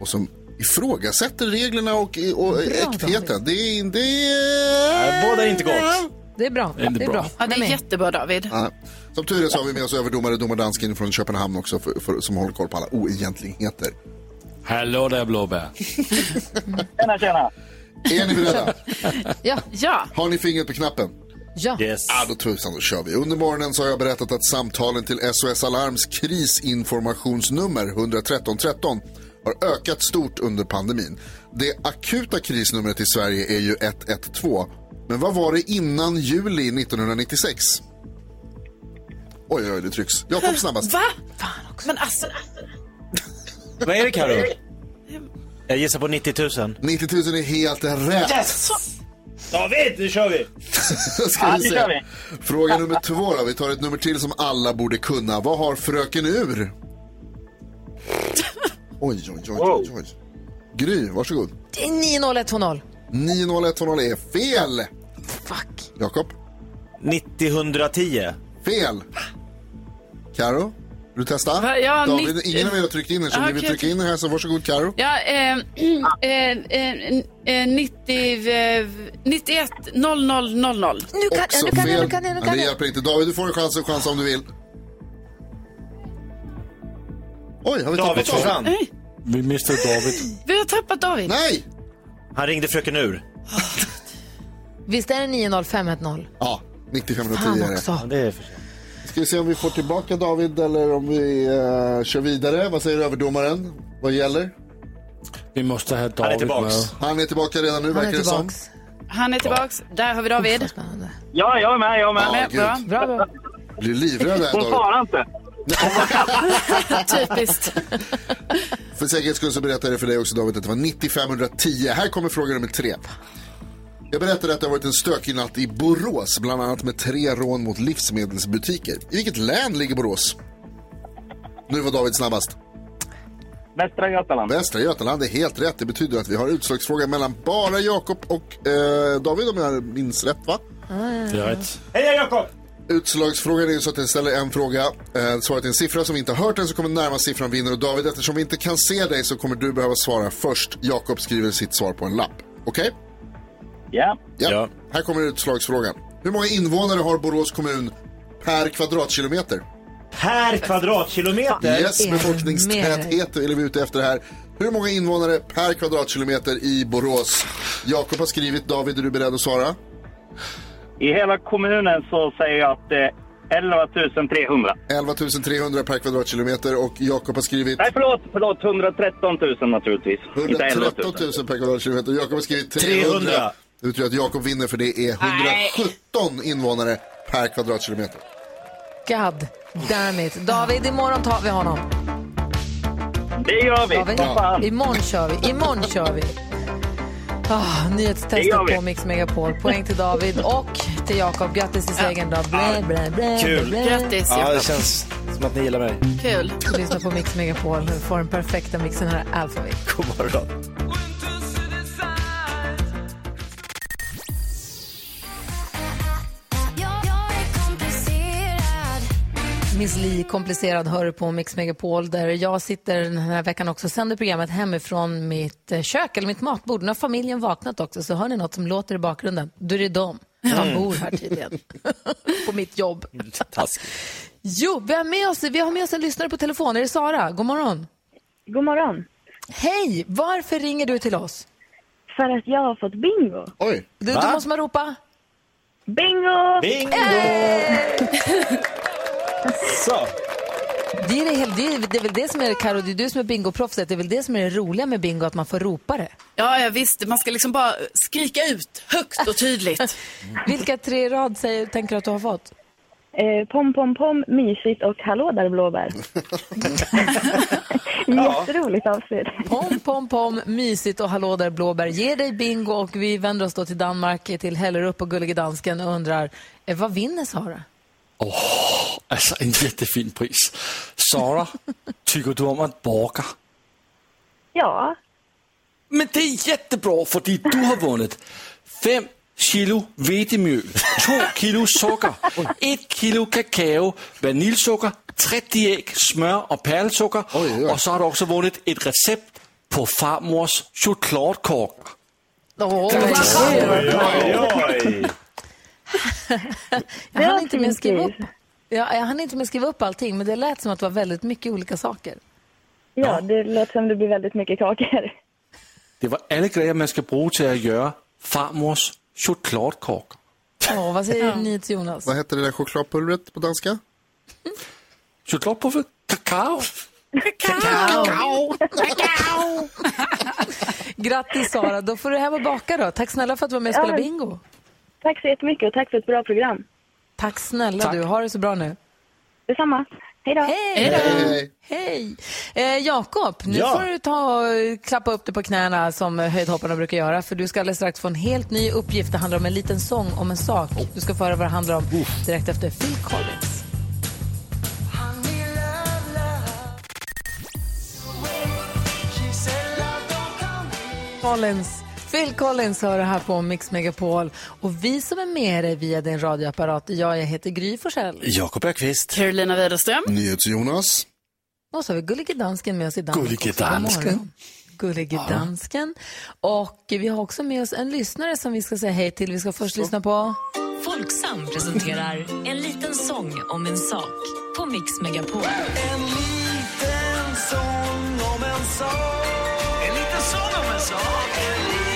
C: och som ifrågasätter reglerna och, och äktheten. Det är, det är...
E: Båda är inte gott.
A: Det är bra.
C: Det är bra.
B: Ja, det är jättebra David.
C: Ja. Som tur är så har vi med oss överdomare domardansken från Köpenhamn också för, för, som håller koll på alla oegentligheter.
I: Hallå där blåbär.
P: Tjena, tjena.
C: Är ni beredda?
A: ja.
C: Har ni fingret på knappen?
A: Ja.
E: Yes.
C: Ah, då tusan, då kör vi. Under morgonen så har jag berättat att samtalen till SOS Alarms krisinformationsnummer 113 13 har ökat stort under pandemin. Det akuta krisnumret i Sverige är ju 112. Men vad var det innan juli 1996? Oj, oj, oj, det trycks. Jakob snabbast.
B: Va? Men alltså,
E: Vad är det Karo? Jag gissar på 90 000.
C: 90 000 är helt rätt.
E: Yes! David, nu kör vi!
C: Ska
E: Ja,
C: vi
E: det
C: se.
E: kör vi.
C: Fråga nummer två då. Vi tar ett nummer till som alla borde kunna. Vad har fröken Ur? Oj, oj, oj, oj, oj. Gry, varsågod.
A: Det är 90110.
C: 90110 är fel.
A: Fuck.
C: Jakob?
E: 90-110.
C: Fel. Karo, vill du testa?
B: Va, ja,
C: David,
B: nitt-
C: ingen av er har tryckt in den, så
B: Ah,
C: ni vill
B: okej,
C: trycka in den här, så varsågod Karo.
B: ja, eh,
A: Ah.
B: eh, eh, eh, 90, eh, 91 00 00.
A: Nu kan,
C: Också fel. Men det hjälper inte. David, du får en chans och chans om du vill. Oj, har vi
E: David
C: tappat
E: försvann.
B: Nej.
I: Vi missade David.
B: Vi har tappat David.
C: Nej!
E: Han ringde fröken ur.
A: Visst är det 90510?
C: Ja, 9510
A: Fan
C: är det.
A: också.
E: det är för
C: Ska vi se om vi får tillbaka David eller om vi eh, kör vidare. Vad säger överdomaren? Vad gäller?
I: Vi måste ha David med.
C: Han är tillbaka redan nu, verkar det som.
B: Han är tillbaks. Där har vi David.
P: Ja, jag är med, jag är
C: Ja,
P: med.
C: gud.
B: Bra. Bra, bra.
C: Blir livrädd här
P: Hon
C: David.
P: svarar inte.
B: Typiskt.
C: För säkerhets skull så berättar jag för dig också David att det var 9510. Här kommer fråga nummer tre. Jag berättade att det har varit en stökig natt i Borås, bland annat med tre rån mot livsmedelsbutiker. I vilket län ligger Borås? Nu var David snabbast.
P: Västra Götaland.
C: Västra Götaland är helt rätt. Det betyder att vi har utslagsfråga mellan bara Jakob och eh, David om jag minns rätt va?
I: Det är rätt.
E: Hej Jakob!
C: Utslagsfrågan är ju så att den ställer en fråga. Eh, svaret är en siffra som vi inte har hört än så kommer närmast siffran vinner. Och David, eftersom vi inte kan se dig så kommer du behöva svara först. Jakob skriver sitt svar på en lapp. Okej?
P: Ja.
C: Ja. Här kommer utslagsfrågan. Hur många invånare har Borås kommun per kvadratkilometer?
E: Per kvadratkilometer?
C: Yes, befolkningstäthet är vi ute efter här. Hur många invånare per kvadratkilometer i Borås? Jakob har skrivit. David, är du beredd att svara?
P: I hela kommunen så säger jag att eh, det är 11 300.
C: 11 300 per kvadratkilometer och Jakob har skrivit...
P: Nej, förlåt, förlåt. 113 000 naturligtvis. Inte 11
C: 113 000 per kvadratkilometer. Jakob har skrivit 300.
P: 300.
C: Det betyder att Jakob vinner för det är 117 invånare per kvadratkilometer.
A: God damn it. David, imorgon tar vi honom.
P: Det gör vi.
A: David,
P: Vad fan.
A: Imorgon kör vi. Imorgon kör vi. Ah,
P: Det gör
A: nyhetstestet
P: vi.
A: på Mix Megapol. Poäng till David och till Jakob. Grattis till segern. Då. Blä, blä, blä,
E: Kul.
A: blä.
E: Ja, det känns som att ni gillar mig.
B: Kul.
A: Lyssna på Mix Megapol. Du får den perfekta mixen här. Alphaville.
E: God morgon.
M: Jag, jag är komplicerad
A: Miss Li, komplicerad, hör du på Mix Megapol där jag sitter den här veckan också och sänder programmet hemifrån mitt eh, kök eller mitt matbord. Nu har familjen vaknat också så hör ni något som låter i bakgrunden, då är det de. De
F: Mm.
A: bor här tydligen, på mitt jobb. Jo, vi har, med oss, vi har med oss en lyssnare på telefon. Är det Sara? God morgon.
Q: God morgon.
A: Hej! Varför ringer du till oss?
Q: För att jag har fått bingo.
C: Oj.
A: Du, då måste man ropa.
Q: Bingo!
A: Bingo!
E: Så.
A: Det är, det, hel- det, är, det är väl det som är, Karo, det är du som är bingoproffset, det är väl det som är det roliga med bingo, att man får ropa det.
B: Ja, ja, visst. Man ska liksom bara skrika ut högt och tydligt.
A: Vilka tre rad säger, tänker du att du har fått?
Q: Eh, pom, pom, pom, mysigt och hallå där blåbär. Jätteroligt avsnitt.
A: Pom, pom, pom, mysigt och hallå där blåbär ger dig bingo och vi vänder oss då till Danmark, till Hellerup och Gullige Dansken och undrar, eh, vad vinner Sara?
I: Åh, alltså en jättefin pris. Sara, tycker du om att baka?
Q: Ja,
I: Men det är jättebra, för du har vunnit fem kilo vetemjöl, två kilo socker, ett kilo kakao, vaniljsocker, 30 ägg, smör och pärlsocker. Och så har du också vunnit ett recept på farmors chokladkaka.
A: Åh, jag hann inte med att skriva upp. Ja, jag hann inte med att skriva upp allting, men det lät som att det var väldigt mycket olika saker.
Q: ja det låter som det blir väldigt mycket kakor.
I: Det var alla grejer man ska bruka till att göra farmors chokladkaka.
A: Åh, vad säger ni till Jonas?
C: Vad heter det där chokladpulvret på danska?
I: Chokladpulver? Kakao?
A: Kakao! Kakao! Grattis Sara, då får du hem och baka då. Tack snälla för att du var med och
Q: Ja.
A: spelade bingo.
Q: Tack så jättemycket och tack för ett bra program.
A: Tack snälla du, ha det så bra nu.
Q: Detsamma. Hej då.
A: Hej då! Hej! Eh, Jakob, nu
Q: Ja.
A: får du ta och klappa upp dig på knäna som höjdhopparna brukar göra för du ska alldeles strax få en helt ny uppgift. Det handlar om en liten sång om en sak. Du ska få höra vad det handlar om direkt efter Phil Collins. Collins. Phil Collins hör det här på Mix Megapol. Och vi som är med dig via din radioapparat, jag, jag heter Gry Forssell.
E: Jakob Ökvist.
B: Carolina Widerström.
C: NyhetsJonas.
A: Och så har vi Gullige Dansken med oss i Danmark.
C: Gullige
A: också. God
C: Dansken.
A: morgon. Gullige Dansken. Och vi har också med oss en lyssnare som vi ska säga hej till. Vi ska först lyssna på...
R: Folksam presenterar En liten sång om en sak på Mix Megapol. En liten sång om en sak En liten sång om en sak En liten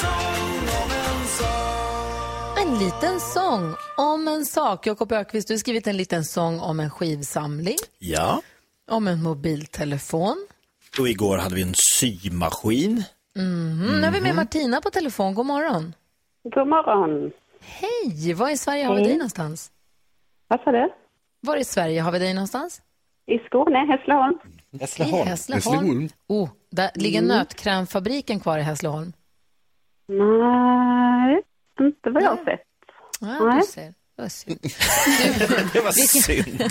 R: sång om en sak
A: En liten sång om en sak. Jakob Ökvist, du har skrivit en liten sång om en skivsamling,
E: Ja.
A: om en mobiltelefon.
E: Och igår hade vi en symaskin.
A: Mhm. Nu har vi med Martina på telefon. God morgon.
S: God morgon.
A: Hej! Var i Sverige har vi
S: Hej.
A: dig någonstans?
S: Vad sa du?
A: Var i Sverige har vi dig någonstans?
S: I Skåne, Hässleholm.
A: I Hässleholm. Oh, där ligger
S: Mm.
A: nötkrämfabriken kvar i Hässleholm.
S: Nej, inte vad jag har sett.
A: Ja, du ser. Det var synd.
E: Det var
A: Vilken-
E: synd.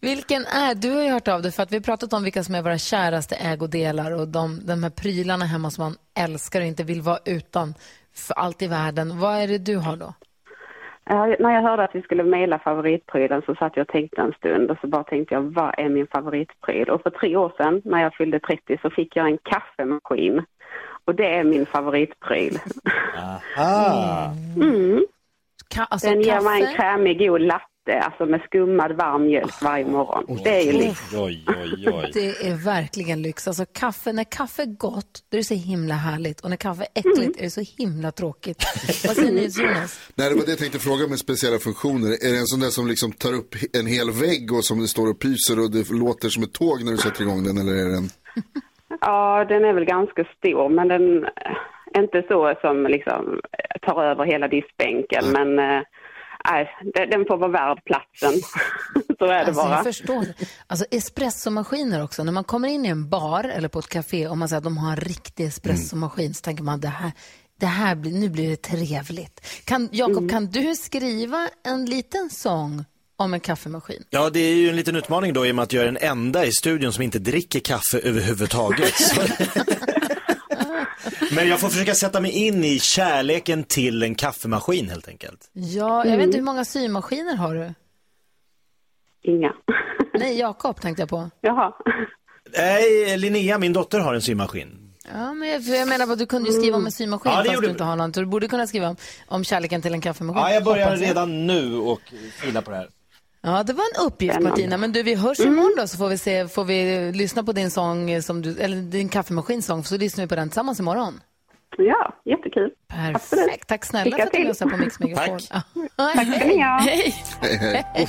A: Vilken är, du har ju hört av dig för att vi har pratat om vilka som är våra käraste ägodelar och de, de här prylarna hemma som man älskar och inte vill vara utan för allt i världen. Vad är det du har då?
S: Ja, När jag hörde att vi skulle mejla favoritprylen så satt jag och tänkte en stund och så bara tänkte jag, vad är min favoritpryl? Och för tre år sedan när jag fyllde 30 så fick jag en kaffemaskin. Och det är min favoritpryl.
E: Aha.
S: Mm.
A: alltså
S: Den ger
A: kaffe?
S: mig en krämig god latte, alltså med skummad varm mjölk varje morgon. det är ju lyx.
E: Oj, oj, oj.
A: Det är verkligen lyx. Alltså kaffe, när kaffe är gott, då är det så himla härligt och när kaffe är äckligt är det så himla tråkigt. Vad säger ni Jonas?
C: Nej, det var det jag tänkte fråga med speciella funktioner. Är det en sån där som liksom tar upp en hel vägg och som det står och pyser och det låter som ett tåg när du sätter igång den? Eller är den...
S: Ja, den är väl ganska stor, men den är inte så som liksom tar över hela diskbänken. Men eh, nej, den- den får vara värd platsen. så är det
A: Alltså,
S: bara.
A: jag förstår. det. Alltså espressomaskiner också. När man kommer in i en bar eller på ett café och man säger att de har en riktig espressomaskin så tänker man det här, det här blir, nu blir det trevligt. Kan, Jakob,
E: Mm.
A: kan du skriva en liten sång om en kaffemaskin?
E: Ja, det är ju en liten utmaning då i och med att jag är den enda i studion som inte dricker kaffe överhuvudtaget. Så- Men jag får försöka sätta mig in i kärleken till en kaffemaskin helt enkelt.
A: Ja, jag vet inte hur många symaskiner har du?
B: Inga.
A: Nej, Jakob tänkte jag på.
B: Jaha.
E: Nej, Linnea, min dotter har en symaskin.
A: Ja, men jag, för jag menar, vad, du kunde ju skriva om en symaskin
E: Mm. Ja, det
A: fast
E: gjorde
A: du inte har någon. Så Du borde kunna skriva om, om kärleken till en kaffemaskin.
E: Ja, jag börjar
A: hoppas
E: redan nu och fila på det här.
A: Ja, det var en uppgift Martina. Men du, vi hörs
B: Mm.
A: imorgon då så får vi, se, får vi lyssna på din sång, som du, eller din kaffemaskinsång, så lyssnar vi på den tillsammans imorgon.
B: Ja, jättekul.
A: Perfekt. Tack snälla för
B: Lycka
A: att du
B: till.
A: lyssnade på Mix Megapol.
B: Tack.
A: Ja.
B: Tack ska ni ha.
A: Hej.
B: Hej, hej.